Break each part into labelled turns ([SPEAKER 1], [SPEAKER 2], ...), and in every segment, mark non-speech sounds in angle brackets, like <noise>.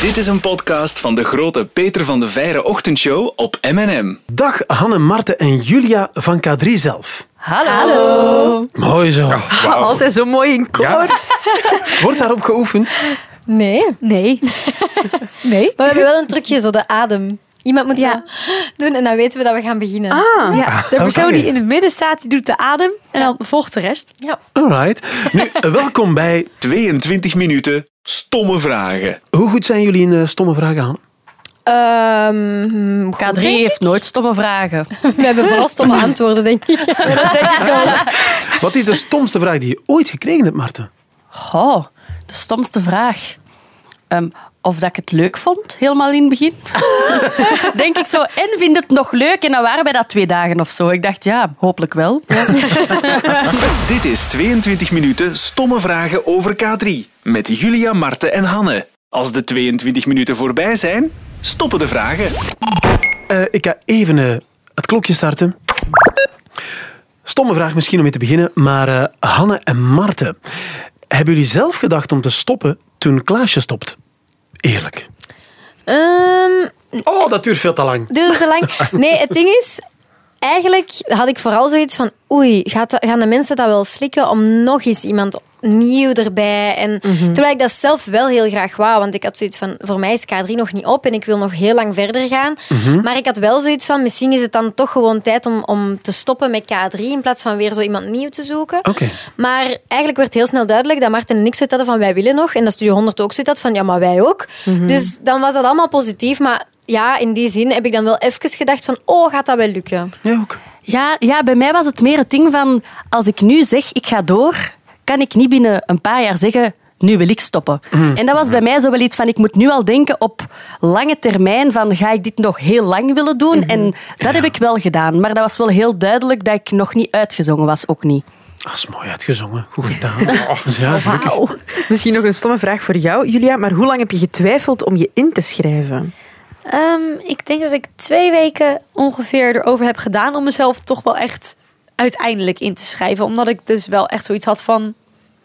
[SPEAKER 1] Dit is een podcast van de grote Peter van de Veire ochtendshow op M&M.
[SPEAKER 2] Dag Hanne, Marten en Julia van K3 zelf.
[SPEAKER 3] Hallo.
[SPEAKER 2] Mooi zo.
[SPEAKER 3] Altijd zo mooi in koor.
[SPEAKER 2] Wordt daarop geoefend?
[SPEAKER 4] Nee, <laughs>
[SPEAKER 3] Nee. nee.
[SPEAKER 4] maar we hebben wel een trucje, zo de adem. Iemand moet
[SPEAKER 3] Ja.
[SPEAKER 4] zo doen en dan weten we dat we gaan beginnen.
[SPEAKER 3] Ah, ja. De
[SPEAKER 2] oké.
[SPEAKER 3] persoon die in het midden staat, die doet de adem en dan volgt de rest.
[SPEAKER 4] Ja.
[SPEAKER 2] Alright. Nu, <laughs> eh, welkom bij...
[SPEAKER 1] 22 minuten stomme vragen.
[SPEAKER 2] Hoe goed zijn jullie in eh, stomme vragen, Hanne?
[SPEAKER 4] Ehm, goed,
[SPEAKER 5] K3
[SPEAKER 4] denk
[SPEAKER 5] heeft
[SPEAKER 4] ik.
[SPEAKER 5] nooit stomme
[SPEAKER 4] <laughs>
[SPEAKER 5] vragen.
[SPEAKER 4] We hebben vooral
[SPEAKER 3] <laughs>
[SPEAKER 4] stomme antwoorden, denk ik.
[SPEAKER 2] Wat is de stomste vraag die je ooit gekregen hebt, Marten?
[SPEAKER 5] Goh, de stomste vraag. Ehm, of dat ik het leuk vond, helemaal in het
[SPEAKER 4] <laughs>
[SPEAKER 5] begin. Denk ik zo, en vind het nog leuk? En dan waren wij dat twee dagen of zo. Ik dacht, ja, hopelijk wel.
[SPEAKER 1] Dit is 22 minuten stomme vragen over K3 met Julia, Marten en Hanne. Als de 22 minuten voorbij zijn, stoppen de vragen.
[SPEAKER 2] Eh, ik ga even eh, het klokje starten. Stomme vraag misschien om mee te beginnen, maar eh, Hanne en Marten, hebben jullie zelf gedacht om te stoppen toen Klaasje stopt? Eerlijk.
[SPEAKER 4] Ehm,
[SPEAKER 2] Oh, dat duurt veel te lang.
[SPEAKER 4] duurde het te lang? Nee, het ding is... Eigenlijk had ik vooral zoiets van... Oei, gaat dat- gaan de mensen dat wel slikken om nog eens iemand nieuw erbij? En, Terwijl ik dat zelf wel heel graag wou. Want ik had zoiets van... Voor mij is K3 nog niet op en ik wil nog heel lang verder gaan. Maar ik had wel zoiets van... Misschien is het dan toch gewoon tijd om, om te stoppen met K3... in plaats van weer zo iemand nieuw te zoeken.
[SPEAKER 2] Oké.
[SPEAKER 4] Maar eigenlijk werd heel snel duidelijk dat Martin en ik zoiets hadden van wij willen nog. En dat Studio 100 ook zoiets had van ja, maar wij ook. Dus dan was dat allemaal positief. Maar ja, in die zin heb ik dan wel even gedacht van oh, gaat dat wel lukken?
[SPEAKER 2] Jij ook?
[SPEAKER 5] Ja, ja, bij mij was het meer het ding van... Als ik nu zeg, ik ga door, kan ik niet binnen een paar jaar zeggen... Nu wil ik stoppen. En dat was bij mij zo wel iets van... Ik moet nu al denken op lange termijn van... Ga ik dit nog heel lang willen doen? En dat heb ik wel gedaan. Maar dat was wel heel duidelijk dat ik nog niet uitgezongen was. Ook niet.
[SPEAKER 2] Dat is mooi uitgezongen. Goed gedaan. Dus ja, gelukkig.
[SPEAKER 6] Misschien nog een stomme vraag voor jou, Julia. Maar hoe lang heb je getwijfeld om je in te schrijven?
[SPEAKER 7] Ehm, ik denk dat ik twee weken ongeveer erover heb gedaan om mezelf toch wel echt uiteindelijk in te schrijven. Omdat ik dus wel echt zoiets had van,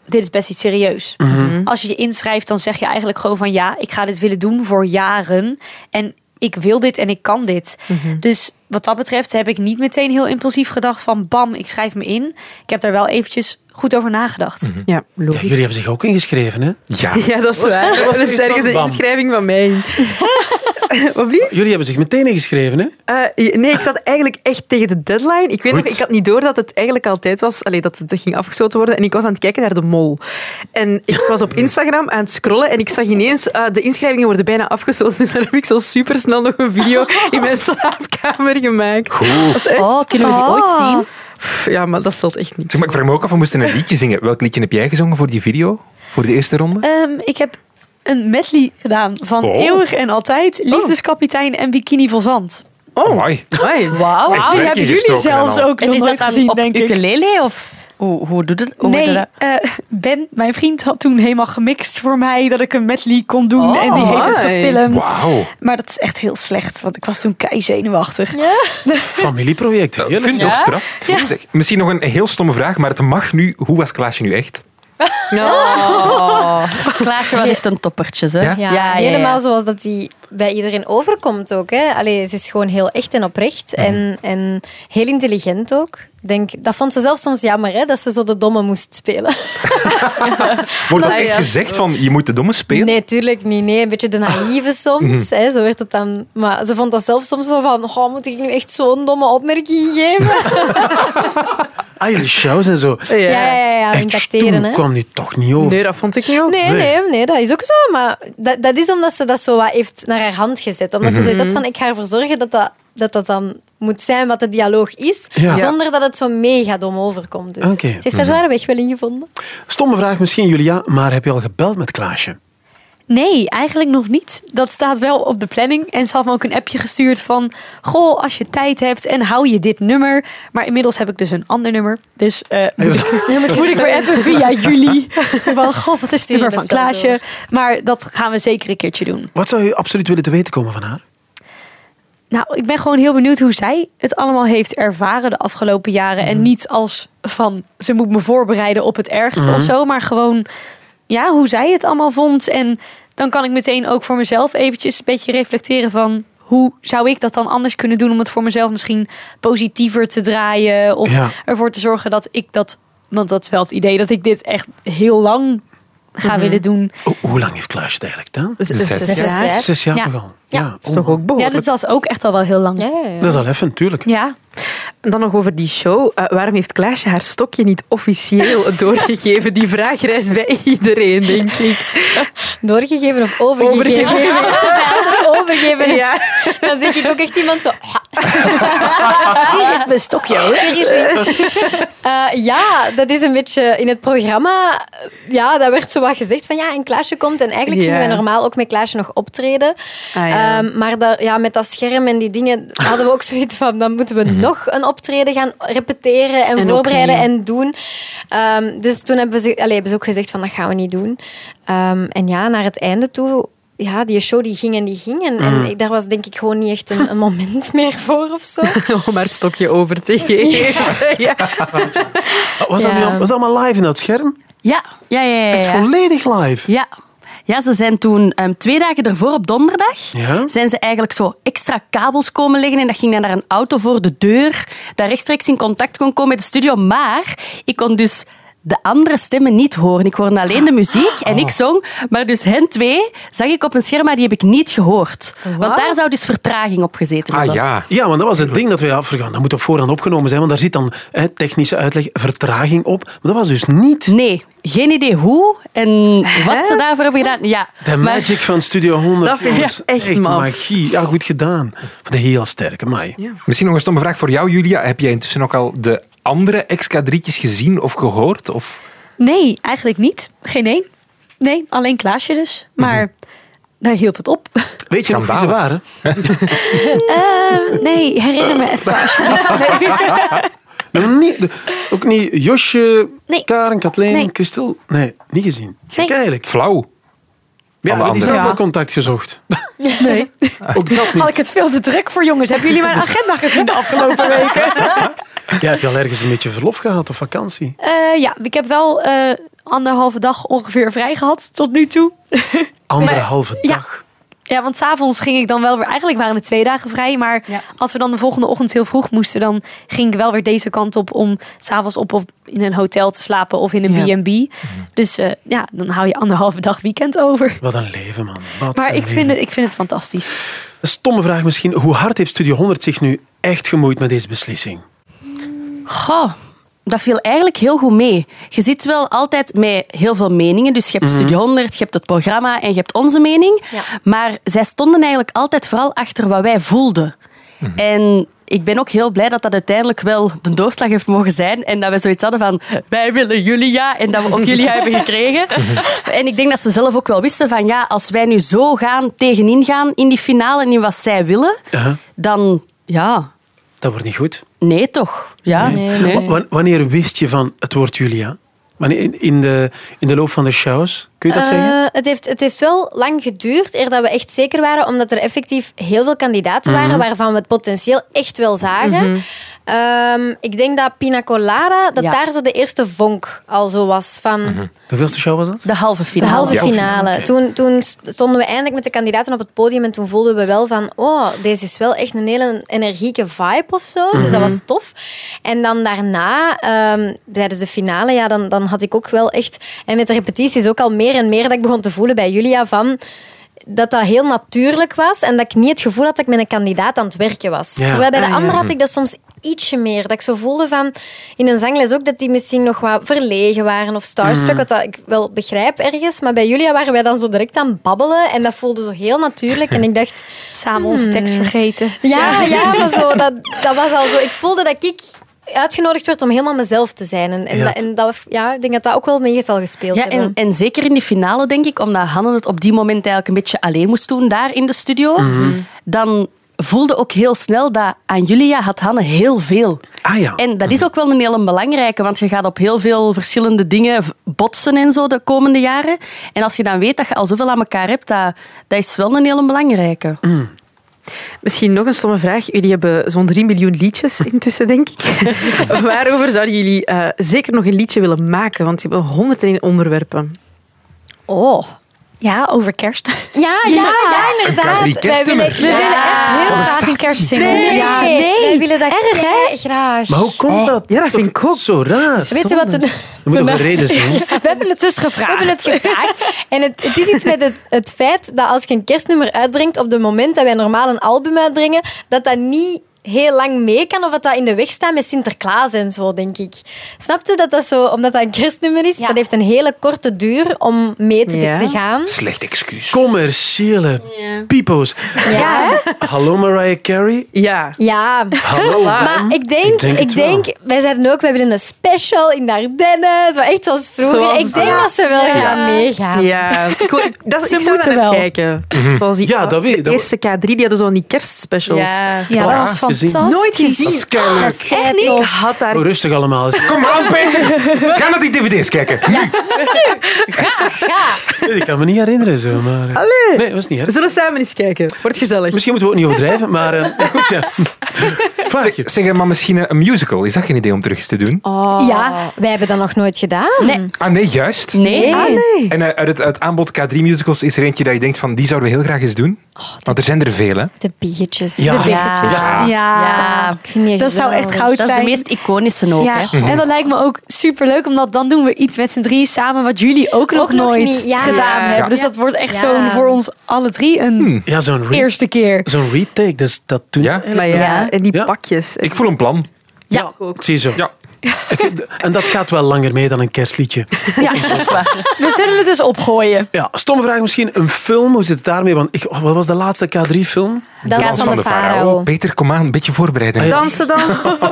[SPEAKER 7] dit is best iets serieus.
[SPEAKER 8] Mhm.
[SPEAKER 7] Als je je inschrijft, dan zeg je eigenlijk gewoon van ja, ik ga dit willen doen voor jaren. En ik wil dit en ik kan dit.
[SPEAKER 8] Mhm.
[SPEAKER 7] Dus wat dat betreft heb ik niet meteen heel impulsief gedacht van bam, ik schrijf me in. Ik heb daar wel eventjes goed over nagedacht.
[SPEAKER 8] Mhm.
[SPEAKER 6] Ja,
[SPEAKER 2] Ja,
[SPEAKER 6] logisch.
[SPEAKER 2] jullie hebben zich ook ingeschreven, hè?
[SPEAKER 6] <laughs> Ja, dat is waar. Er
[SPEAKER 2] zoiets
[SPEAKER 6] was ergens
[SPEAKER 2] van
[SPEAKER 6] een
[SPEAKER 2] bam.
[SPEAKER 6] inschrijving van mij. <laughs> in. Wat blieft?
[SPEAKER 2] Jullie hebben zich meteen ingeschreven, hè?
[SPEAKER 6] Eh, nee, ik zat eigenlijk echt tegen de deadline. Ik weet
[SPEAKER 2] Goed.
[SPEAKER 6] nog, ik had niet door dat het eigenlijk al tijd was allee, dat het ging afgesloten worden. En ik was aan het kijken naar de mol. En ik was op Instagram aan het scrollen en ik zag ineens, eh, de inschrijvingen worden bijna afgesloten. <laughs> Dus daar heb ik zo supersnel nog een video in mijn slaapkamer gemaakt. Dat is echt- Ah.
[SPEAKER 5] Oh, kunnen we die ooit zien?
[SPEAKER 6] Pff, Ja, maar dat stelt echt niet.
[SPEAKER 8] Zeg maar, ik vraag me ook af, we moesten een liedje zingen. Welk liedje heb jij gezongen voor die video? Voor de eerste ronde?
[SPEAKER 7] Ehm, ik heb een medley gedaan van
[SPEAKER 8] Oh.
[SPEAKER 7] Eeuwig en Altijd, Liefdeskapitein en Bikini van Zand.
[SPEAKER 8] Oh, ah, mooi.
[SPEAKER 6] Amai.
[SPEAKER 5] Wauw.
[SPEAKER 8] Echt werk ingestoken en al.
[SPEAKER 5] En is dat dan op ukulele? Of hoe, hoe doet het? Hoe
[SPEAKER 7] nee,
[SPEAKER 5] doet dat?
[SPEAKER 7] eh, Ben, mijn vriend, had toen helemaal gemixt voor mij dat ik een medley kon doen.
[SPEAKER 5] Oh,
[SPEAKER 7] en die heeft het
[SPEAKER 6] mooi.
[SPEAKER 7] gefilmd.
[SPEAKER 8] Wauw.
[SPEAKER 7] Maar dat is echt heel slecht, want ik was toen kei zenuwachtig.
[SPEAKER 2] Familieproject, hè?
[SPEAKER 8] Ik
[SPEAKER 2] Jullie?
[SPEAKER 8] vind het ook straf. Goed, zeg. Misschien nog een heel stomme vraag, maar het mag nu. Hoe was Klaasje nu echt?
[SPEAKER 5] <laughs> Klaasje was echt een toppertje. Hè?
[SPEAKER 8] Ja?
[SPEAKER 4] Ja, helemaal zoals dat die bij iedereen overkomt ook. Hè. Allee, ze is gewoon heel echt en oprecht en, en heel intelligent ook. Ik Denk, dat vond ze zelf soms jammer, hè, dat ze zo de domme moest spelen.
[SPEAKER 8] Wordt dat echt gezegd van, je moet de domme spelen?
[SPEAKER 4] Nee, tuurlijk niet. Nee, een beetje de naïeve soms. Hè, zo werd het dan. Maar ze vond dat zelf soms zo van... Oh, moet ik nu echt zo'n domme opmerking geven?
[SPEAKER 2] Ah, jullie shows en zo.
[SPEAKER 6] Ja.
[SPEAKER 4] Ja, ja, ja. ja
[SPEAKER 2] Echt
[SPEAKER 4] impacteren,
[SPEAKER 2] stoem
[SPEAKER 4] hè.
[SPEAKER 2] kwam die toch niet over.
[SPEAKER 6] Nee, dat vond ik niet ook.
[SPEAKER 4] Nee,
[SPEAKER 2] Nee.
[SPEAKER 4] nee, nee, dat is ook zo. Maar dat, dat is omdat ze dat zo wat heeft naar haar hand gezet. Omdat
[SPEAKER 2] Mhm.
[SPEAKER 4] ze zoiets had van... Ik ga ervoor zorgen dat dat, dat dat dan moet zijn wat de dialoog is.
[SPEAKER 2] Ja.
[SPEAKER 4] Zonder dat het zo mega dom overkomt. Dus
[SPEAKER 2] Oké. Mhm.
[SPEAKER 4] ze heeft daar zware weg wel in gevonden.
[SPEAKER 2] Stomme vraag misschien, Julia, maar heb je al gebeld met Klaasje?
[SPEAKER 7] Nee, eigenlijk nog niet. Dat staat wel op de planning. En ze had me ook een appje gestuurd van... Goh, als je tijd hebt en hou je dit nummer. Maar inmiddels heb ik dus een ander nummer. Dus eh, moet, ik, moet ik weer even via jullie. Zo van, goh, wat is het
[SPEAKER 4] Stuur je
[SPEAKER 7] nummer van
[SPEAKER 4] dat wel door?
[SPEAKER 7] Klaasje? Maar dat gaan we zeker een keertje doen.
[SPEAKER 2] Wat zou je absoluut willen te weten komen van haar?
[SPEAKER 7] Nou, ik ben gewoon heel benieuwd hoe zij het allemaal heeft ervaren de afgelopen jaren. En niet als van ze moet me voorbereiden op het ergste of zo, maar gewoon ja, hoe zij het allemaal vond. En dan kan ik meteen ook voor mezelf eventjes een beetje reflecteren van hoe zou ik dat dan anders kunnen doen om het voor mezelf misschien positiever te draaien of
[SPEAKER 2] Ja.
[SPEAKER 7] ervoor te zorgen dat ik dat, want dat is wel het idee dat ik dit echt heel lang ga willen doen.
[SPEAKER 2] Ho- hoe lang heeft Klaasje het eigenlijk gedaan?
[SPEAKER 6] Dus,
[SPEAKER 8] Zes
[SPEAKER 6] dus-
[SPEAKER 8] jaar.
[SPEAKER 7] Ja.
[SPEAKER 4] Ja.
[SPEAKER 2] Zes jaar
[SPEAKER 7] Ja.
[SPEAKER 2] toch al?
[SPEAKER 4] Ja.
[SPEAKER 2] Dat
[SPEAKER 6] is toch ook
[SPEAKER 7] Ja,
[SPEAKER 6] behoorlijk.
[SPEAKER 7] dat was ook echt al wel heel lang.
[SPEAKER 4] Ja, ja, ja.
[SPEAKER 2] Dat is al even, natuurlijk.
[SPEAKER 7] Ja.
[SPEAKER 6] En Dan nog over die show. Eh, waarom heeft Klaasje haar stokje niet officieel <laughs> doorgegeven? Die vraag reist bij iedereen, denk ik.
[SPEAKER 4] Doorgegeven of overgegeven?
[SPEAKER 6] Overgegeven.
[SPEAKER 4] Ja, <laughs> dat is bij altijd overgegeven.
[SPEAKER 6] Ja.
[SPEAKER 4] Dan zeg ik ook echt iemand zo... "Ha,
[SPEAKER 7] <laughs> Hier is mijn stokje hoor.
[SPEAKER 4] seriously?" Eh, ja, dat is een beetje in het programma. eh, Ja, daar werd zo wat gezegd van ja, en Klaasje komt. En eigenlijk gingen
[SPEAKER 6] Ja.
[SPEAKER 4] wij normaal ook met Klaasje nog optreden.
[SPEAKER 6] Ah, ja.
[SPEAKER 4] Ehm, maar daar- ja, met dat scherm en die dingen hadden we ook <laughs> zoiets van... dan moeten we nog een optreden gaan repeteren en,
[SPEAKER 6] En
[SPEAKER 4] voorbereiden
[SPEAKER 6] opnieuw.
[SPEAKER 4] en doen. Ehm, dus toen hebben ze, allee, hebben ze ook gezegd van dat gaan we niet doen. Ehm, en ja, naar het einde toe... Ja, die show die ging en die ging. En, en ik- daar was denk ik gewoon niet echt een, een moment <laughs> meer voor of zo.
[SPEAKER 6] <laughs> Om haar stokje over te geven. Ja.
[SPEAKER 2] Ah, Was, dat
[SPEAKER 4] Ja.
[SPEAKER 2] nu al- was dat allemaal live in dat scherm?
[SPEAKER 5] Ja, ja, ja. ja,
[SPEAKER 2] Echt
[SPEAKER 5] ja.
[SPEAKER 2] volledig live?
[SPEAKER 5] Ja. Ja, ze zijn toen ehm, twee dagen ervoor op donderdag
[SPEAKER 2] Ja.
[SPEAKER 5] zijn ze eigenlijk zo extra kabels komen leggen en dat ging dan naar een auto voor de deur, daar rechtstreeks in contact kon komen met de studio. Maar ik kon dus de andere stemmen niet horen. Ik hoorde alleen de muziek en ik zong, maar dus hen twee zag ik op een scherm, maar die heb ik niet gehoord. Want daar zou dus vertraging op gezeten
[SPEAKER 8] Ah
[SPEAKER 5] hebben.
[SPEAKER 8] ja.
[SPEAKER 2] Ja, want dat was het ding dat wij afgegaan. Dat moet op voorhand opgenomen zijn, want daar zit dan hè, technische uitleg, vertraging op. Maar dat was dus niet
[SPEAKER 5] Nee, geen idee hoe en wat ze daarvoor hebben gedaan. Ja,
[SPEAKER 2] de
[SPEAKER 5] maar-
[SPEAKER 2] magic van Studio 100.
[SPEAKER 6] Dat vind ik
[SPEAKER 2] jongens.
[SPEAKER 6] echt
[SPEAKER 2] Echt
[SPEAKER 6] maf.
[SPEAKER 2] magie. Ja, goed gedaan. Van de heel sterke, mij.
[SPEAKER 8] Misschien nog een stomme vraag voor jou, Julia. Heb jij intussen ook al de andere XK3'tjes gezien of gehoord? Of...
[SPEAKER 7] Nee, eigenlijk niet. Geen één. Nee, alleen Klaasje dus. Maar daar hield het op.
[SPEAKER 2] Weet je nog wie ze
[SPEAKER 8] Schandalig.
[SPEAKER 2] waren?
[SPEAKER 7] Eh, nee, herinner me even. alsjeblieft. Nee.
[SPEAKER 2] Nog niet, de- ook niet Josje,
[SPEAKER 7] Nee.
[SPEAKER 2] Karen, Kathleen,
[SPEAKER 7] Nee.
[SPEAKER 2] Christel. Nee, niet gezien. Gek
[SPEAKER 7] Nee.
[SPEAKER 2] eigenlijk.
[SPEAKER 8] Flauw.
[SPEAKER 2] Ja,
[SPEAKER 8] Alle
[SPEAKER 2] hebben die
[SPEAKER 8] anderen.
[SPEAKER 2] zelf
[SPEAKER 6] Ja.
[SPEAKER 2] wel contact
[SPEAKER 7] <laughs>
[SPEAKER 2] gezocht. <laughs> Ook dat
[SPEAKER 7] Had
[SPEAKER 2] niet.
[SPEAKER 7] ik het veel te druk voor jongens. Hebben jullie mijn agenda gezien de afgelopen weken?
[SPEAKER 2] Jij hebt al ergens een beetje verlof gehad of vakantie.
[SPEAKER 7] Eh, ja, ik heb wel eh, anderhalve dag ongeveer vrij gehad tot nu toe. <laughs>
[SPEAKER 2] Anderhalve
[SPEAKER 7] ja.
[SPEAKER 2] dag.
[SPEAKER 7] Ja, want s'avonds ging ik dan wel weer... Eigenlijk waren het twee dagen vrij. Maar
[SPEAKER 5] Ja.
[SPEAKER 7] als we dan de volgende ochtend heel vroeg moesten... dan ging ik wel weer deze kant op om s'avonds op, op in een hotel te slapen of in een
[SPEAKER 5] Ja.
[SPEAKER 7] B&B. Dus eh, ja, dan hou je anderhalve dag weekend over.
[SPEAKER 2] Wat een leven, man. Wat
[SPEAKER 7] Maar
[SPEAKER 2] een
[SPEAKER 7] ik vind,
[SPEAKER 2] leven.
[SPEAKER 7] het, ik vind het fantastisch.
[SPEAKER 2] Een stomme vraag misschien. Hoe hard heeft Studio 100 zich nu echt gemoeid met deze beslissing?
[SPEAKER 5] Goh, dat viel eigenlijk heel goed mee. Je zit wel altijd met heel veel meningen. Dus je hebt Studio 100, je hebt het programma en je hebt onze mening.
[SPEAKER 4] Ja.
[SPEAKER 5] Maar zij stonden eigenlijk altijd vooral achter wat wij voelden. En ik ben ook heel blij dat dat uiteindelijk wel de doorslag heeft mogen zijn. En dat we zoiets hadden van, wij willen Julia. En dat we ook Julia hebben gekregen. En ik denk dat ze zelf ook wel wisten van, ja, als wij nu zo gaan, tegenin gaan in die finale en in wat zij willen,
[SPEAKER 2] Uh-huh.
[SPEAKER 5] dan, ja,
[SPEAKER 2] Dat wordt niet goed.
[SPEAKER 5] nee toch. Ja, nee.
[SPEAKER 2] Wa- wa- wanneer wist je van het woord Julia? Wanneer, in, in de, in de loop van de shows? Kun je dat zeggen?
[SPEAKER 4] Eh, het, heeft, het heeft wel lang geduurd eer dat we echt zeker waren, omdat er effectief heel veel kandidaten
[SPEAKER 2] Mhm.
[SPEAKER 4] waren waarvan we het potentieel echt wel zagen. Ehm, ik denk dat Pina Colada, dat
[SPEAKER 5] Ja.
[SPEAKER 4] daar zo de eerste vonk al zo was van
[SPEAKER 2] De hoeveelste show was dat?
[SPEAKER 5] De halve
[SPEAKER 4] de
[SPEAKER 5] finale.
[SPEAKER 4] halve
[SPEAKER 2] Ja.
[SPEAKER 4] finale.
[SPEAKER 2] Oké.
[SPEAKER 4] Toen, toen stonden we eindelijk met de kandidaten op het podium en toen voelden we wel van, oh, deze is wel echt een hele energieke vibe of zo. Dus dat was tof. En dan daarna, ehm, tijdens de finale, ja, dan, dan had ik ook wel echt, en met de repetities ook al meer en meer dat ik begon te voelen bij Julia van dat dat heel natuurlijk was en dat ik niet het gevoel had dat ik met een kandidaat aan het werken was.
[SPEAKER 2] Ja. Hm.
[SPEAKER 4] Terwijl bij de
[SPEAKER 6] Ah, ja.
[SPEAKER 4] anderen had ik dat soms ietsje meer. Dat ik zo voelde van in een zangles ook dat die misschien nog wat verlegen waren of
[SPEAKER 2] Hm.
[SPEAKER 4] starstruck, wat dat ik wel begrijp ergens. Maar bij Julia waren wij dan zo direct aan het babbelen en dat voelde zo heel natuurlijk. En ik dacht,
[SPEAKER 7] Samen onze tekst vergeten.
[SPEAKER 4] <laughs> ja, ja, maar zo, dat, dat was al zo. Ik voelde dat ik uitgenodigd werd om helemaal mezelf te zijn. En, en,
[SPEAKER 2] Ja.
[SPEAKER 4] dat, en dat, ja, ik denk dat dat ook wel mee zal gespeeld
[SPEAKER 5] Ja,
[SPEAKER 4] hebben.
[SPEAKER 5] en, en zeker in die finale, denk ik, omdat Hanne het op die moment eigenlijk een beetje alleen moest doen daar in de studio,
[SPEAKER 2] Mhm.
[SPEAKER 5] dan voelde ook heel snel dat aan Julia had Hanne heel veel.
[SPEAKER 2] Ah ja.
[SPEAKER 5] En dat is ook wel een heel belangrijke, want je gaat op heel veel verschillende dingen v- botsen en zo de komende jaren. En als je dan weet dat je al zoveel aan elkaar hebt, dat, dat is wel een heel belangrijke.
[SPEAKER 6] <laughs>
[SPEAKER 2] Mhm.
[SPEAKER 6] Misschien nog een stomme vraag. Jullie hebben zo'n 3 miljoen liedjes intussen, denk ik. <laughs> Waarover zouden jullie eh, zeker nog een liedje willen maken? Want je hebt 101 onderwerpen.
[SPEAKER 4] Oh.
[SPEAKER 7] Ja, over kerst.
[SPEAKER 4] Ja, ja, ja,
[SPEAKER 8] Een
[SPEAKER 4] inderdaad.
[SPEAKER 8] Carrie
[SPEAKER 4] Wij willen,
[SPEAKER 8] Kerstnummer.
[SPEAKER 4] we willen
[SPEAKER 7] Ja.
[SPEAKER 4] echt heel
[SPEAKER 7] Wat is
[SPEAKER 4] graag
[SPEAKER 7] dat?
[SPEAKER 4] een kerstsingle.
[SPEAKER 7] Nee.
[SPEAKER 4] Ja,
[SPEAKER 7] Nee.
[SPEAKER 4] Wij willen dat
[SPEAKER 7] Erg, hè?
[SPEAKER 4] graag.
[SPEAKER 2] Maar hoe
[SPEAKER 4] Eh,
[SPEAKER 2] komt dat?
[SPEAKER 6] ja, dat vind ik ook.
[SPEAKER 2] Zo raar.
[SPEAKER 4] Weet je wat? de-
[SPEAKER 2] Er moet toch
[SPEAKER 4] <laughs>
[SPEAKER 2] een reden zijn?
[SPEAKER 4] We hebben het dus gevraagd. We hebben het gevraagd. En het, het is iets met het, het feit dat als je een kerstnummer uitbrengt op het moment dat wij normaal een album uitbrengen, dat dat niet heel lang mee kan of dat dat in de weg staat met Sinterklaas en zo, denk ik. Snap je dat dat zo, omdat dat een kerstnummer is, dat heeft een hele korte duur om mee te,
[SPEAKER 6] Ja.
[SPEAKER 4] te gaan.
[SPEAKER 8] Slecht excuus.
[SPEAKER 2] Commerciële pipo's.
[SPEAKER 4] Ja, hè?
[SPEAKER 2] Hallo Mariah Carey.
[SPEAKER 6] Ja.
[SPEAKER 4] ja.
[SPEAKER 2] Hallo.
[SPEAKER 4] Maar ik denk,
[SPEAKER 2] Ik denk
[SPEAKER 4] ik denk,
[SPEAKER 2] het
[SPEAKER 4] wij zeiden ook, wij willen een special in Dardenne, zo echt zoals vroeger.
[SPEAKER 6] Zoals-
[SPEAKER 4] ik denk
[SPEAKER 6] ja.
[SPEAKER 4] dat ze wel gaan meegaan.
[SPEAKER 6] Ja, ik, <laughs> hoor- dat,
[SPEAKER 5] Ze
[SPEAKER 6] ik zou
[SPEAKER 5] moeten
[SPEAKER 6] daar
[SPEAKER 5] wel.
[SPEAKER 6] naar kijken. Zoals die,
[SPEAKER 2] Mhm. Ja, dat weet ik.
[SPEAKER 6] De
[SPEAKER 2] Dat-
[SPEAKER 6] eerste K3, die hadden zo'n die kerstspecials.
[SPEAKER 4] Ja, dat
[SPEAKER 2] Ah,
[SPEAKER 4] was
[SPEAKER 2] gezien.
[SPEAKER 4] fantastisch.
[SPEAKER 6] Nooit gezien.
[SPEAKER 2] Dat is keileuk.
[SPEAKER 4] Dat is kei
[SPEAKER 6] Echt niet? Ik
[SPEAKER 4] tof.
[SPEAKER 6] had daar...
[SPEAKER 2] Oh, rustig allemaal.
[SPEAKER 8] Kom aan, Peter. <laughs> Ga naar die dvd's kijken.
[SPEAKER 4] Ja.
[SPEAKER 2] Ik kan me niet herinneren zo, maar... eh,
[SPEAKER 6] Allee.
[SPEAKER 2] Nee, dat was niet
[SPEAKER 6] We
[SPEAKER 2] erg.
[SPEAKER 6] zullen samen eens kijken. Wordt gezellig.
[SPEAKER 2] Misschien moeten we het niet overdrijven, maar eh, <laughs> goed, ja. Vaagje.
[SPEAKER 8] Zeg, maar misschien een musical. Is dat geen idee om terug eens te doen?
[SPEAKER 4] Oh. Ja, wij hebben dat nog nooit gedaan.
[SPEAKER 5] Nee.
[SPEAKER 8] Ah, nee, juist.
[SPEAKER 5] Nee.
[SPEAKER 4] Ah, Nee.
[SPEAKER 8] En eh, uit het uit aanbod K3 musicals is er eentje dat je denkt van, die zouden we heel graag eens doen. Want er zijn er vele.
[SPEAKER 4] De biertjes.
[SPEAKER 2] Ja.
[SPEAKER 4] De biertjes.
[SPEAKER 8] Ja.
[SPEAKER 5] Ja.
[SPEAKER 4] Ik vind die
[SPEAKER 7] Dat zou
[SPEAKER 4] geweldig.
[SPEAKER 7] echt goud
[SPEAKER 5] Dat is de
[SPEAKER 7] zijn.
[SPEAKER 5] meest iconische ook. Hè.
[SPEAKER 7] Ja. En dat lijkt me ook superleuk, omdat dan doen we iets met z'n drie samen wat jullie ook nog
[SPEAKER 4] Ook nog
[SPEAKER 7] nooit
[SPEAKER 4] niet, ja.
[SPEAKER 7] gedaan
[SPEAKER 4] Ja.
[SPEAKER 7] hebben. Dus dat wordt echt
[SPEAKER 4] Ja.
[SPEAKER 7] zo'n voor ons alle drie een
[SPEAKER 2] Ja, zo'n re
[SPEAKER 7] eerste keer.
[SPEAKER 2] zo'n retake, dat, is- dat doet...
[SPEAKER 8] Ja.
[SPEAKER 6] Maar ja,
[SPEAKER 5] Ja.
[SPEAKER 6] en die
[SPEAKER 2] Ja.
[SPEAKER 6] pakjes.
[SPEAKER 8] Ik voel een plan.
[SPEAKER 2] Ja,
[SPEAKER 6] ook.
[SPEAKER 2] zie je zo. <laughs>
[SPEAKER 8] Ja.
[SPEAKER 2] Ik- En dat gaat wel langer mee dan een kerstliedje.
[SPEAKER 7] Ja. We zullen het eens opgooien.
[SPEAKER 2] Ja, stomme vraag misschien. Een film, hoe zit het daarmee? Want ik, oh, wat was de laatste K3-film?
[SPEAKER 4] Dat
[SPEAKER 8] Dans
[SPEAKER 4] was van de farao.
[SPEAKER 8] Oh, Peter, kom aan, een beetje voorbereiden.
[SPEAKER 6] Dansen dan.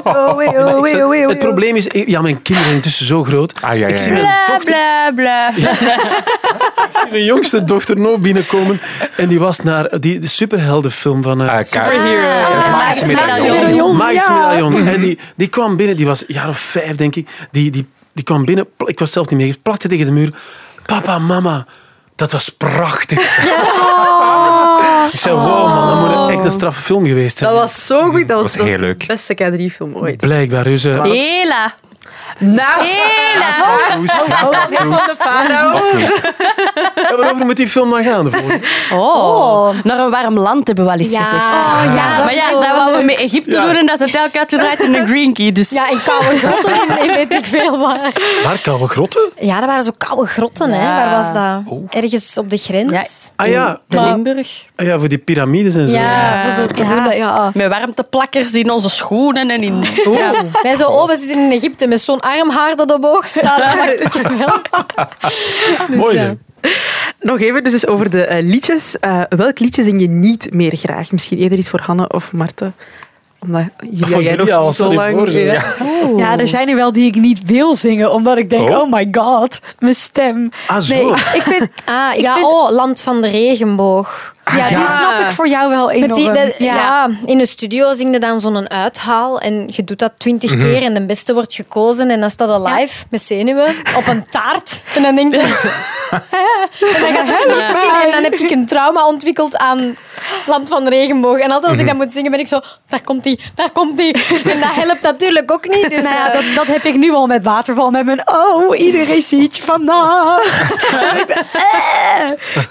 [SPEAKER 6] Oh, wee, oh,
[SPEAKER 2] Ik
[SPEAKER 6] wee,
[SPEAKER 2] zat-
[SPEAKER 6] oh, wee, oh,
[SPEAKER 2] het probleem is, ik- ja, mijn kinderen zijn intussen zo groot.
[SPEAKER 8] Ah, ja, ja,
[SPEAKER 2] Ik zie
[SPEAKER 8] ja.
[SPEAKER 2] mijn, dochter, <laughs>
[SPEAKER 5] Bla, bla.
[SPEAKER 2] ik zie mijn jongste dochter nog binnenkomen. En die was naar die, de superheldenfilm van... eh
[SPEAKER 8] Ah, K- Maarten
[SPEAKER 4] Maarten
[SPEAKER 8] Medaillon.
[SPEAKER 4] Medaillon.
[SPEAKER 2] Maïs Medaillon. En die, die kwam binnen, die was een jaar of vijf, denk ik. Die, die, die kwam binnen, pl- ik was zelf niet meer, plakte tegen de muur. Papa, mama, dat was prachtig. <laughs> Ik zei, wow man, dat moet een- echt een straffe film geweest zijn.
[SPEAKER 6] Dat was zo goed. Dat was,
[SPEAKER 8] was heel
[SPEAKER 6] de
[SPEAKER 8] leuk.
[SPEAKER 6] beste K3-film ooit.
[SPEAKER 2] Blijkbaar, dus... eh,
[SPEAKER 5] Hela.
[SPEAKER 6] Naast
[SPEAKER 5] Hela.
[SPEAKER 6] oh, Naast van de Farao.
[SPEAKER 2] ja, waarover moet die film dan gaan? de volgende?
[SPEAKER 5] Oh. Naar een warm land hebben we al eens
[SPEAKER 4] Ja.
[SPEAKER 5] gezegd.
[SPEAKER 4] Oh, ja, dat
[SPEAKER 5] maar ja,
[SPEAKER 4] wil-
[SPEAKER 5] dat wouden we met Egypte
[SPEAKER 2] Ja.
[SPEAKER 5] doen en dat ze telkens uitgedraaid
[SPEAKER 4] <laughs>
[SPEAKER 5] in een green key. Dus
[SPEAKER 4] Ja, in koude <laughs> grotten, nee, weet ik veel waar.
[SPEAKER 2] Waar kan we grotten?
[SPEAKER 4] Ja, dat waren zo koude grotten, hè.
[SPEAKER 5] Ja.
[SPEAKER 4] Waar was dat? Ergens op de grens.
[SPEAKER 2] Ah ja,
[SPEAKER 5] de Limburg.
[SPEAKER 2] ah, ja voor die piramides en zo.
[SPEAKER 4] Ja, voor zo te doen. dat- Ja.
[SPEAKER 5] Met warmteplakkers in onze schoenen en in...
[SPEAKER 4] Wij zo, oh, we zitten in Egypte met zo'n armhaar dat omhoog staat. Dat maak ik wel.
[SPEAKER 2] Mooi zeg.
[SPEAKER 6] Nog even dus eens over de eh, liedjes. Eh, welk liedje zing je niet meer graag? Misschien eerder iets voor Hanne of Marten. Omdat Julia,
[SPEAKER 2] Voor
[SPEAKER 6] jij nog
[SPEAKER 2] Julia,
[SPEAKER 6] niet
[SPEAKER 2] stel
[SPEAKER 6] zo
[SPEAKER 2] je
[SPEAKER 6] lang...
[SPEAKER 2] voor, zo.
[SPEAKER 6] ja.
[SPEAKER 2] Ja.
[SPEAKER 7] Ja, er zijn er wel die ik niet wil zingen, omdat ik denk,
[SPEAKER 8] Oh.
[SPEAKER 7] oh, my god, mijn stem.
[SPEAKER 2] Ah, zo.
[SPEAKER 7] Nee, ik vind,
[SPEAKER 4] <laughs> Ah,
[SPEAKER 7] Ik
[SPEAKER 4] ja,
[SPEAKER 7] vind-
[SPEAKER 4] oh, Land van de Regenboog.
[SPEAKER 7] ja,
[SPEAKER 8] <laughs>
[SPEAKER 6] ja.
[SPEAKER 7] die snap ik voor jou wel
[SPEAKER 4] Met
[SPEAKER 7] enorm.
[SPEAKER 4] die, dat- ja.
[SPEAKER 7] ja.
[SPEAKER 4] in de studio zing je dan zo'n uithaal en je doet dat twintig keer en de beste wordt gekozen en dan staat dat live met <laughs> zenuwen op een taart. En dan denk je... <laughs> en dan gaat <laughs> het niet zingen en dan heb ik een trauma ontwikkeld aan Land van de Regenboog. En altijd als ik dat moet zingen ben ik zo, daar komt die, daar komt die. <laughs> En dat helpt natuurlijk ook niet. Dus,
[SPEAKER 7] Nou ja,
[SPEAKER 4] eh,
[SPEAKER 7] dat, dat heb ik nu al met waterval met mijn oh, iedereen ziet je vannacht. Eh.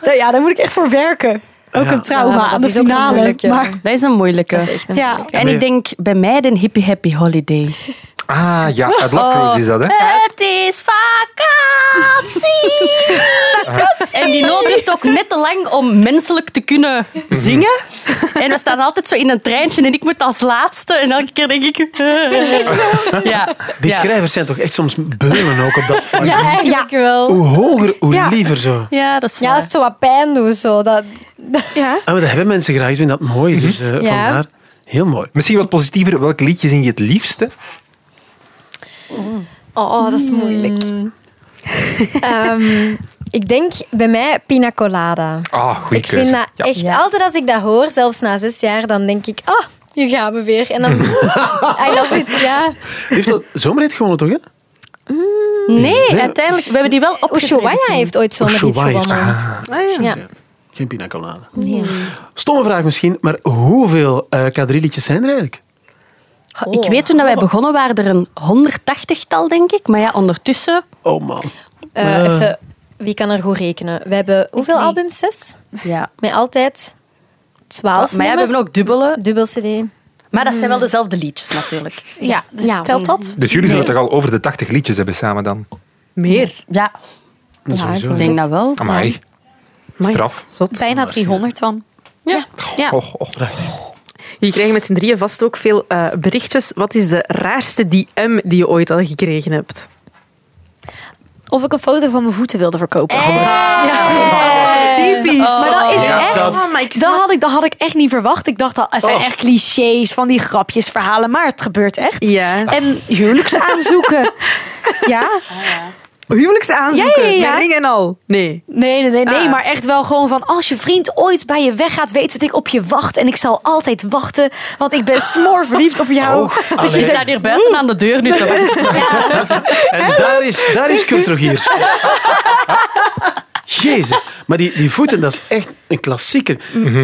[SPEAKER 7] Nou ja, daar moet ik echt voor werken. Ook
[SPEAKER 2] Ja.
[SPEAKER 7] een trauma
[SPEAKER 4] Ja, maar dat
[SPEAKER 7] aan de
[SPEAKER 4] is ook een
[SPEAKER 7] finale.
[SPEAKER 4] moeilijke.
[SPEAKER 7] Maar
[SPEAKER 5] Dat is een moeilijke.
[SPEAKER 4] dat is echt een
[SPEAKER 7] Ja.
[SPEAKER 4] moeilijke.
[SPEAKER 5] En ik denk bij mij de hippie happy holiday.
[SPEAKER 8] Ah, ja, uit Love Crazy is dat, hè?
[SPEAKER 5] Het is vakantie. <laughs> En die noot duurt ook net te lang om menselijk te kunnen zingen.
[SPEAKER 4] Mhm.
[SPEAKER 5] En we staan altijd zo in een treintje en ik moet als laatste. En elke keer denk ik... eh. Ja.
[SPEAKER 2] Die
[SPEAKER 5] ja.
[SPEAKER 2] schrijvers zijn toch echt soms beulen ook op dat vlak.
[SPEAKER 4] Ja, eigenlijk wel.
[SPEAKER 2] Hoe hoger, hoe liever zo.
[SPEAKER 5] Ja, dat is
[SPEAKER 4] Ja, als
[SPEAKER 5] waar.
[SPEAKER 4] het zo wat pijn doet, zo, dat,
[SPEAKER 2] Ah, maar dat hebben mensen graag. Ik vind dat mooi. Dus eh, vandaar. Heel mooi.
[SPEAKER 8] Misschien wat positiever. Welk liedje zing je het liefste?
[SPEAKER 4] Oh, dat is moeilijk. Ehm, ik denk bij mij pina colada.
[SPEAKER 8] Ah, goede
[SPEAKER 4] ik
[SPEAKER 8] keuze.
[SPEAKER 4] vind dat
[SPEAKER 8] Ja.
[SPEAKER 4] echt, altijd als ik dat hoor, zelfs na zes jaar, dan denk ik, ah, hier gaan we weer. En dan, I love it, ja.
[SPEAKER 2] Heeft dat zomerhit gewonnen, toch? Hè?
[SPEAKER 5] Nee, uiteindelijk. We hebben die wel opgeschreven.
[SPEAKER 4] Ushuaia heeft ooit zo'n iets
[SPEAKER 2] Ushuaia heeft- Ah,
[SPEAKER 4] gewonnen. Ja.
[SPEAKER 2] Geen pina colada. Stomme vraag misschien, maar hoeveel eh K3-liedjes zijn er eigenlijk?
[SPEAKER 5] Goh, Ah, Ik weet toen dat wij begonnen waren er een 180-tal, denk ik. Maar ja, ondertussen...
[SPEAKER 2] Oh man.
[SPEAKER 4] Eh, even Wie kan er goed rekenen? We hebben hoeveel
[SPEAKER 5] niet.
[SPEAKER 4] albums? Zes?
[SPEAKER 5] Ja.
[SPEAKER 4] Met altijd twaalf
[SPEAKER 5] Maar ja, we
[SPEAKER 4] nummers.
[SPEAKER 5] hebben ook dubbele.
[SPEAKER 4] Dubbel cd.
[SPEAKER 5] Maar dat zijn wel dezelfde liedjes natuurlijk.
[SPEAKER 7] Ja, dus
[SPEAKER 4] Ja.
[SPEAKER 7] telt dat?
[SPEAKER 8] Dus jullie zullen toch al over de 80 liedjes hebben samen dan?
[SPEAKER 6] Meer.
[SPEAKER 5] Ja,
[SPEAKER 4] Ja,
[SPEAKER 5] ik denk dat wel.
[SPEAKER 8] Amai. Straf. Oh,
[SPEAKER 6] Zot.
[SPEAKER 7] Bijna 300 dan. Ja.
[SPEAKER 8] Och, och.
[SPEAKER 6] Je krijgt met z'n drieën vast ook veel eh, berichtjes. Wat is de raarste DM die je ooit al gekregen hebt?
[SPEAKER 7] Of ik een foto van mijn voeten wilde verkopen.
[SPEAKER 4] Eh,
[SPEAKER 5] Typisch.
[SPEAKER 7] Eh. Oh. Maar dat is
[SPEAKER 9] Ja,
[SPEAKER 7] echt...
[SPEAKER 9] dat-
[SPEAKER 7] Dat, had ik, dat had ik echt niet verwacht. Ik dacht, dat het zijn echt clichés van die grapjes, verhalen. Maar het gebeurt echt.
[SPEAKER 6] Ja.
[SPEAKER 7] En huwelijksaanzoeken. ja?
[SPEAKER 6] Huwelijksaanzoeken.
[SPEAKER 7] Ja, ja, ja.
[SPEAKER 6] Met ring en al. Nee.
[SPEAKER 7] Nee, nee, nee. nee
[SPEAKER 6] Ah.
[SPEAKER 7] Maar echt wel gewoon van... Als je vriend ooit bij je weggaat, weet dat ik op je wacht. En ik zal altijd wachten. Want ik ben smoorverliefd op jou. <laughs> Dus
[SPEAKER 5] Dus Je staat hier buiten aan de deur nu.
[SPEAKER 2] En daar is, daar is Kultrogiers. <laughs> Jezus. Maar die, die voeten, dat is echt een klassieker.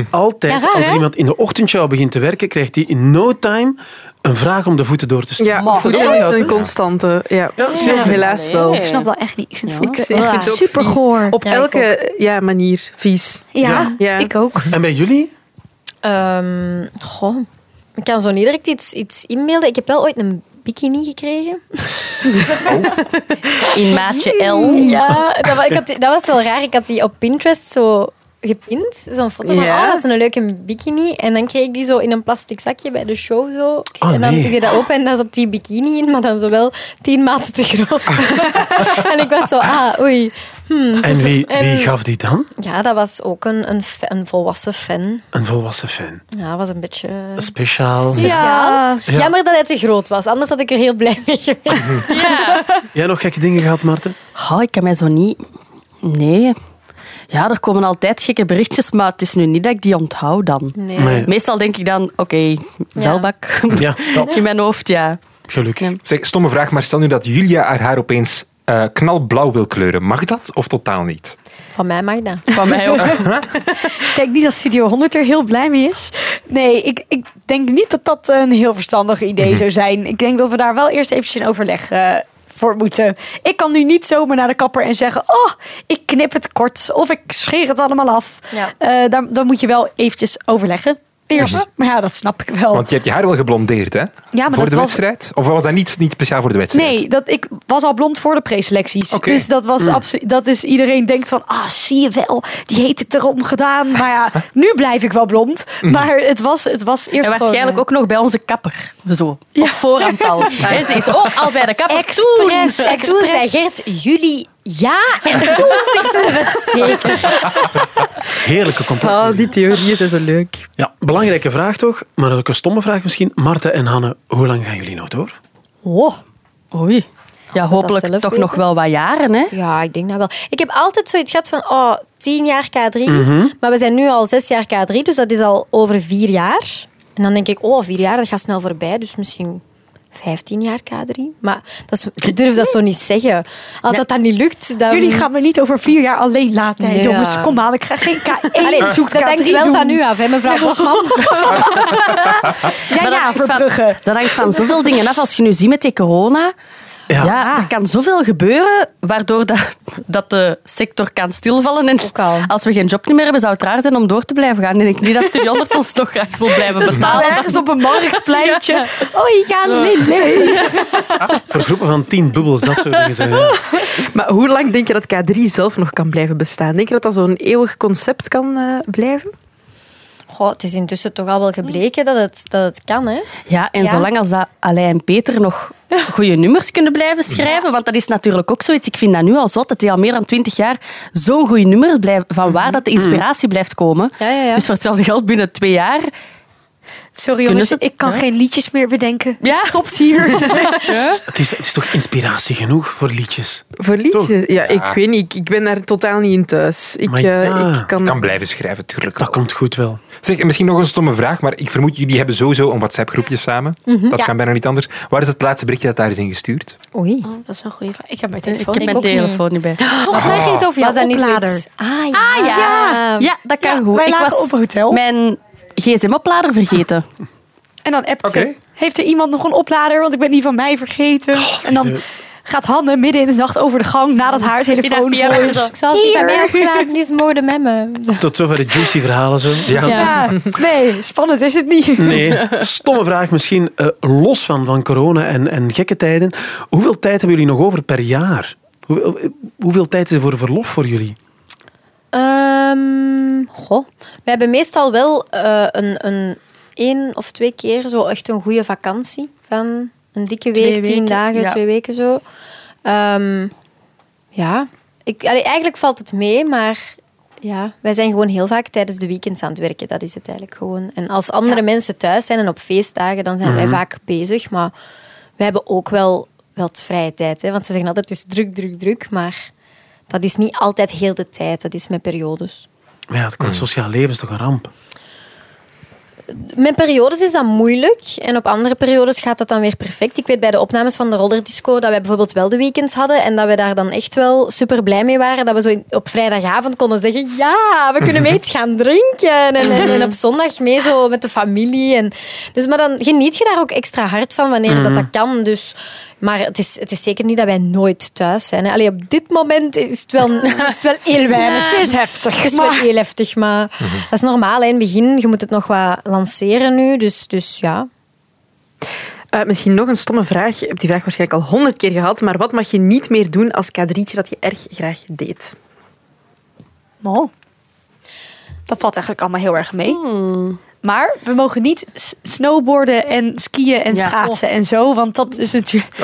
[SPEAKER 2] Altijd,
[SPEAKER 7] Ja, raar,
[SPEAKER 2] als er
[SPEAKER 7] hè?
[SPEAKER 2] iemand in de ochtendshow begint te werken, krijgt hij in no time een vraag om de voeten door te sturen.
[SPEAKER 6] Ja,
[SPEAKER 5] Maar-
[SPEAKER 6] voeten is een constante. Ja.
[SPEAKER 2] Ja, zeker.
[SPEAKER 6] Helaas wel.
[SPEAKER 7] Ik snap dat echt niet. Ik vind het
[SPEAKER 6] Ik vind het ook
[SPEAKER 7] super
[SPEAKER 6] vies.
[SPEAKER 7] goor.
[SPEAKER 6] Op
[SPEAKER 4] Oh, Ja, ik
[SPEAKER 6] elke ja, manier vies.
[SPEAKER 7] Ja,
[SPEAKER 6] Ja.
[SPEAKER 7] ik ook.
[SPEAKER 2] En bij jullie?
[SPEAKER 4] Ehm, goh. Ik kan zo niet direct iets, iets inbeelden. Ik heb wel ooit een bikini gekregen.
[SPEAKER 5] <laughs> In maatje L.
[SPEAKER 4] Ja, dat, wa- ik had die- dat was wel raar. Ik had die op Pinterest zo gepint. Zo'n foto van,
[SPEAKER 6] Ja.
[SPEAKER 4] oh, dat is een leuke bikini. En dan kreeg ik die zo in een plastic zakje bij de show. Zo.
[SPEAKER 2] Oh,
[SPEAKER 4] en dan
[SPEAKER 2] nee.
[SPEAKER 4] doe je dat open en daar zat die bikini in, maar dan zo wel tien maten te groot. en ik was zo, ah, oei.
[SPEAKER 2] En wie, wie
[SPEAKER 4] En-
[SPEAKER 2] gaf die dan?
[SPEAKER 4] Ja, dat was ook een, een, fa- een volwassen fan.
[SPEAKER 2] Een volwassen fan.
[SPEAKER 4] Ja, dat was een beetje...
[SPEAKER 2] Speciaal.
[SPEAKER 4] Speciaal. Jammer dat hij te groot was, anders had ik er heel blij mee geweest.
[SPEAKER 2] Jij nog gekke dingen gehad, Marten?
[SPEAKER 5] Oh, ik kan mij zo niet... Nee. Ja, er komen altijd gekke berichtjes, maar het is nu niet dat ik die onthoud dan.
[SPEAKER 4] Nee.
[SPEAKER 2] Nee.
[SPEAKER 5] Meestal denk ik dan, oké, vuilbak.
[SPEAKER 2] Ja, dat.
[SPEAKER 5] In mijn hoofd, ja.
[SPEAKER 2] Gelukkig.
[SPEAKER 8] Zeg, stomme vraag, maar stel nu dat Julia haar haar opeens eh, knalblauw wil kleuren. Mag dat of totaal niet?
[SPEAKER 4] Van mij mag dat.
[SPEAKER 5] Van mij ook.
[SPEAKER 7] Ik denk niet dat Studio 100 er heel blij mee is. Nee, ik, ik denk niet dat dat een heel verstandig idee zou zijn. Ik denk dat we daar wel eerst eventjes in overleg eh, voor moeten. Ik kan nu niet zomaar naar de kapper en zeggen... oh, ik knip het kort of ik scheer het allemaal af.
[SPEAKER 4] Ja.
[SPEAKER 7] Eh, daar, dan moet je wel eventjes overleggen. Eerst. Maar ja, dat snap ik wel.
[SPEAKER 8] Want je hebt je haar wel geblondeerd, hè?
[SPEAKER 7] maar
[SPEAKER 8] voor
[SPEAKER 7] dat
[SPEAKER 8] de
[SPEAKER 7] was-
[SPEAKER 8] wedstrijd? Of was dat niet, niet speciaal voor de wedstrijd?
[SPEAKER 7] Nee, dat, ik was al blond voor de preselecties.
[SPEAKER 8] Oké.
[SPEAKER 7] Dus dat was absoluut. Dat is iedereen denkt van, ah, zie je wel, die heeft het erom gedaan. Maar ja, nu blijf ik wel blond. Maar het was, het was eerst
[SPEAKER 5] En waarschijnlijk ook nog bij onze kapper. Zo, op voorhand
[SPEAKER 4] <laughs>
[SPEAKER 5] al. Hè, Ze is ook al bij de kapper.
[SPEAKER 4] Express,
[SPEAKER 5] Toen.
[SPEAKER 4] express. Toen zei Gert, jullie
[SPEAKER 7] eh,
[SPEAKER 4] ja. En toen wisten we het zeker.
[SPEAKER 2] Heerlijke compliment.
[SPEAKER 5] Oh.
[SPEAKER 6] Ah, die theorieën zijn zo leuk.
[SPEAKER 2] Ja, belangrijke vraag toch, maar ook een stomme vraag misschien. Marten en Hanne, hoe lang gaan jullie nog door?
[SPEAKER 5] Oh. Oei. Ja,
[SPEAKER 4] dat
[SPEAKER 5] hopelijk toch
[SPEAKER 4] zelf weten.
[SPEAKER 5] nog wel wat jaren, hè?
[SPEAKER 4] Ja, ik denk dat wel. Ik heb altijd zoiets gehad van, oh, tien jaar K3.
[SPEAKER 7] Mhm.
[SPEAKER 4] Maar we zijn nu al zes jaar K3, dus dat is al over vier jaar. En dan denk ik, oh, vier jaar, dat gaat snel voorbij. Dus misschien vijftien jaar K3. Maar dat
[SPEAKER 7] <laughs>
[SPEAKER 4] is, ik durf dat zo niet zeggen. Als dat dan niet lukt, dan...
[SPEAKER 7] Jullie gaan me niet over vier jaar alleen laten. hè,
[SPEAKER 4] Ja.
[SPEAKER 7] Jongens, kom aan, ik ga geen K1
[SPEAKER 4] <laughs> Allee,
[SPEAKER 7] zoekt
[SPEAKER 4] dat
[SPEAKER 7] K3
[SPEAKER 4] denk ik wel
[SPEAKER 7] doen.
[SPEAKER 4] van u af, hè,
[SPEAKER 7] <laughs>
[SPEAKER 4] mevrouw Bosman.
[SPEAKER 7] Ja, ja,
[SPEAKER 5] Verbrugge.
[SPEAKER 7] Verbrugge.
[SPEAKER 5] Dat hangt van zoveel dingen af. Als je nu ziet met die corona... Ja,
[SPEAKER 4] Ah.
[SPEAKER 5] er kan zoveel gebeuren waardoor dat, dat de sector kan stilvallen. En
[SPEAKER 4] Ook al.
[SPEAKER 5] als we geen job meer hebben, zou het raar zijn om door te blijven gaan. En ik niet dat Studio 100 ons nog graag wil blijven bestaan.
[SPEAKER 7] Ergens op een marktpleintje.
[SPEAKER 5] Oh, ik ga
[SPEAKER 2] Voor groepen van tien bubbels, dat soort dingen. zo, ja.
[SPEAKER 6] Maar hoe lang denk je dat K3 zelf nog kan blijven bestaan? Denk je dat dat zo'n eeuwig concept kan eh, blijven?
[SPEAKER 4] Goh, het is intussen toch al wel gebleken dat het, dat het kan, hè?
[SPEAKER 5] Ja, en
[SPEAKER 4] Ja.
[SPEAKER 5] zolang als dat Alain en Peter nog goede nummers kunnen blijven schrijven, want dat is natuurlijk ook zoiets. Ik vind dat nu al zot, dat die al meer dan twintig jaar zo'n goede nummer blijven, van waar dat de inspiratie blijft komen.
[SPEAKER 4] Ja, ja, ja.
[SPEAKER 5] Dus voor hetzelfde geld binnen twee jaar.
[SPEAKER 7] Sorry
[SPEAKER 5] Kunnen
[SPEAKER 7] jongens,
[SPEAKER 5] ze-
[SPEAKER 7] ik kan geen liedjes meer bedenken.
[SPEAKER 5] Ja.
[SPEAKER 7] Het stopt hier.
[SPEAKER 2] Het, is, het is toch inspiratie genoeg voor liedjes?
[SPEAKER 6] Voor liedjes? Ja, ik weet niet. Ik, ik ben daar totaal niet in thuis. Ik,
[SPEAKER 2] Maar
[SPEAKER 6] eh,
[SPEAKER 2] ja.
[SPEAKER 6] ik kan...
[SPEAKER 8] Kan blijven schrijven, tuurlijk.
[SPEAKER 2] Dat
[SPEAKER 8] wel.
[SPEAKER 2] komt goed wel.
[SPEAKER 8] Zeg, en misschien nog een stomme vraag, maar ik vermoed jullie hebben sowieso een WhatsApp-groepje samen.
[SPEAKER 7] Mhm,
[SPEAKER 8] dat kan bijna niet anders. Waar is het laatste berichtje dat daar is ingestuurd?
[SPEAKER 4] Oei.
[SPEAKER 7] dat is een goede vraag. Ik heb mijn
[SPEAKER 5] Ik heb
[SPEAKER 7] telefoon.
[SPEAKER 5] mijn
[SPEAKER 4] ook niet.
[SPEAKER 5] telefoon niet bij.
[SPEAKER 7] Eh, Volgens mij ging het over
[SPEAKER 4] Oh. Was dat
[SPEAKER 7] jouw
[SPEAKER 4] niet
[SPEAKER 7] oplader.
[SPEAKER 4] zoiets? Ah ja. Ah,
[SPEAKER 7] ja.
[SPEAKER 5] Ja, dat kan
[SPEAKER 7] Ja,
[SPEAKER 5] goed.
[SPEAKER 7] wij
[SPEAKER 5] ik
[SPEAKER 7] lagen
[SPEAKER 5] was
[SPEAKER 7] op een hotel.
[SPEAKER 5] mijn gsm-oplader vergeten.
[SPEAKER 7] En dan appt
[SPEAKER 8] Oké.
[SPEAKER 7] ze. Heeft er iemand nog een oplader? Want ik ben die van mij vergeten. en dan gaat Hanne midden in de nacht over de gang nadat haar telefoon vol is.
[SPEAKER 4] Ik zal die bij mij opgeladen, die is moorden met me.
[SPEAKER 2] Tot zover de juicy verhalen zo.
[SPEAKER 8] Ja.
[SPEAKER 7] Ja, nee, spannend is het niet.
[SPEAKER 2] Nee, stomme vraag misschien, eh, los van, van corona en, en gekke tijden. Hoeveel tijd hebben jullie nog over per jaar? Hoeveel, eh, hoeveel tijd is er voor verlof voor jullie?
[SPEAKER 4] Ehm, goh. We hebben meestal wel eh, een, een één of twee keer zo echt een goede vakantie. Van een dikke week,
[SPEAKER 7] Twee
[SPEAKER 4] tien
[SPEAKER 7] weken,
[SPEAKER 4] dagen,
[SPEAKER 7] ja.
[SPEAKER 4] twee weken zo. Ehm, ja, ik, allee, eigenlijk valt het mee, maar ja, wij zijn gewoon heel vaak tijdens de weekends aan het werken. Dat is het eigenlijk gewoon. En als andere mensen thuis zijn en op feestdagen, dan zijn
[SPEAKER 7] Mhm.
[SPEAKER 4] wij vaak bezig. Maar we hebben ook wel wel wat vrije tijd. Hè? Want ze zeggen altijd, het is druk, druk, druk. Maar dat is niet altijd heel de tijd. Dat is met periodes.
[SPEAKER 2] Maar ja, het qua sociaal leven is toch een ramp?
[SPEAKER 4] Met periodes is dat moeilijk. En op andere periodes gaat dat dan weer perfect. Ik weet bij de opnames van de Roller Disco dat we bijvoorbeeld wel de weekends hadden. En dat we daar dan echt wel super blij mee waren. Dat we zo in- op vrijdagavond konden zeggen: Ja, we kunnen mee iets gaan drinken. En, en, en op zondag mee zo met de familie. En, dus, maar dan geniet je daar ook extra hard van wanneer dat, dat kan. Dus. Maar het is, het is zeker niet dat wij nooit thuis zijn. hè. Allee, op dit moment is het wel, is het wel heel <laughs> weinig.
[SPEAKER 7] Het is heftig.
[SPEAKER 4] Het is wel heel heftig, maar dat is normaal. hè. In het begin, je moet het nog wat lanceren nu. Dus, dus ja.
[SPEAKER 6] Eh, misschien nog een stomme vraag. Je hebt die vraag waarschijnlijk al honderd keer gehad. Maar wat mag je niet meer doen als kadrietje dat je erg graag deed?
[SPEAKER 7] Nou, dat valt eigenlijk allemaal heel erg mee.
[SPEAKER 4] Hmm.
[SPEAKER 7] Maar we mogen niet s- snowboarden en skiën en
[SPEAKER 5] Ja.
[SPEAKER 7] schaatsen
[SPEAKER 4] Oh.
[SPEAKER 7] en zo, want dat is <laughs> natuurlijk.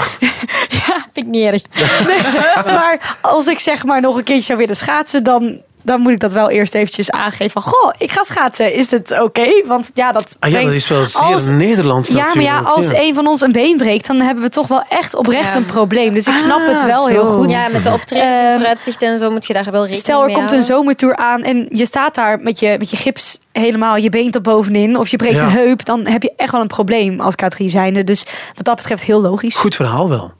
[SPEAKER 7] Ja,
[SPEAKER 4] Vind ik niet erg.
[SPEAKER 7] maar als ik zeg maar nog een keertje zou willen schaatsen, dan, dan moet ik dat wel eerst eventjes aangeven. Van, goh, ik ga schaatsen. Is het oké? Want ja, dat
[SPEAKER 2] Ah ja, dat
[SPEAKER 7] brengt-
[SPEAKER 2] is wel zeer
[SPEAKER 7] als-
[SPEAKER 2] Nederlands
[SPEAKER 7] Ja, maar
[SPEAKER 2] natuurlijk.
[SPEAKER 7] ja, als een van ons een been breekt, dan hebben we toch wel echt oprecht een probleem. Dus ik
[SPEAKER 2] Ah,
[SPEAKER 7] snap het wel heel goed.
[SPEAKER 4] Ja, met de optredens en
[SPEAKER 7] Ehm,
[SPEAKER 4] vooruitzichten en zo moet je daar wel rekening
[SPEAKER 7] Stel, er
[SPEAKER 4] mee
[SPEAKER 7] komt een
[SPEAKER 4] houden.
[SPEAKER 7] zomertour aan en je staat daar met je, met je gips helemaal, je been tot bovenin, of je breekt
[SPEAKER 2] Ja.
[SPEAKER 7] een heup, dan heb je echt wel een probleem als K3 zijnde. Dus wat dat betreft heel logisch.
[SPEAKER 2] Goed verhaal wel.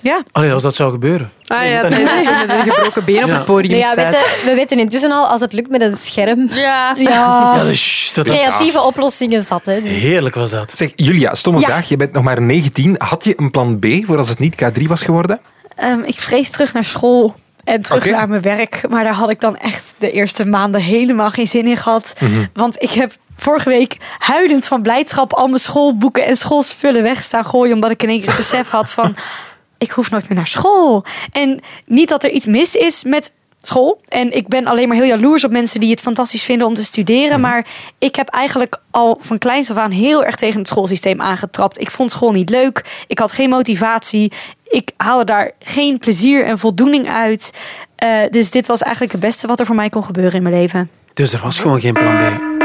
[SPEAKER 7] Ja.
[SPEAKER 2] Allee, als dat zou gebeuren.
[SPEAKER 6] Ah
[SPEAKER 2] Nee,
[SPEAKER 6] ja,
[SPEAKER 2] dan-
[SPEAKER 6] dat is met een gebroken been op
[SPEAKER 2] Ja.
[SPEAKER 6] het podium
[SPEAKER 4] Nou ja,
[SPEAKER 6] staat.
[SPEAKER 4] weten, we weten intussen al, als het lukt met een scherm,
[SPEAKER 7] Ja.
[SPEAKER 2] Ja, dat is- dat is-
[SPEAKER 4] creatieve oplossingen zat. Hè, dus.
[SPEAKER 2] Heerlijk was dat.
[SPEAKER 8] Zeg, Julia, stomme
[SPEAKER 7] Ja.
[SPEAKER 8] vraag. Je bent nog maar 19. Had je een plan B voor als het niet K3 was geworden?
[SPEAKER 7] Ehm, ik vrees terug naar school en terug
[SPEAKER 8] Oké.
[SPEAKER 7] naar mijn werk. Maar daar had ik dan echt de eerste maanden helemaal geen zin in gehad. Want ik heb vorige week huilend van blijdschap al mijn schoolboeken en schoolspullen weg staan gooien. Omdat ik in één keer het besef had van, <laughs> ik hoef nooit meer naar school. En niet dat er iets mis is met school. En ik ben alleen maar heel jaloers op mensen die het fantastisch vinden om te studeren. Maar ik heb eigenlijk al van kleins af aan heel erg tegen het schoolsysteem aangetrapt. Ik vond school niet leuk. Ik had geen motivatie. Ik haalde daar geen plezier en voldoening uit. Eh, dus dit was eigenlijk het beste wat er voor mij kon gebeuren in mijn leven.
[SPEAKER 2] Dus er was gewoon geen plan B.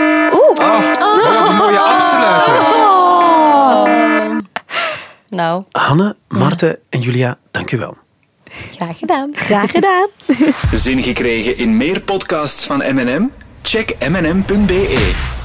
[SPEAKER 7] Ah.
[SPEAKER 8] Wat een mooie afsluiter.
[SPEAKER 5] Nou,
[SPEAKER 2] Hanne, Marten en Julia, dank u wel.
[SPEAKER 4] Graag gedaan.
[SPEAKER 7] Graag gedaan.
[SPEAKER 1] Zin gekregen in meer podcasts van M&M? Check mnm.be.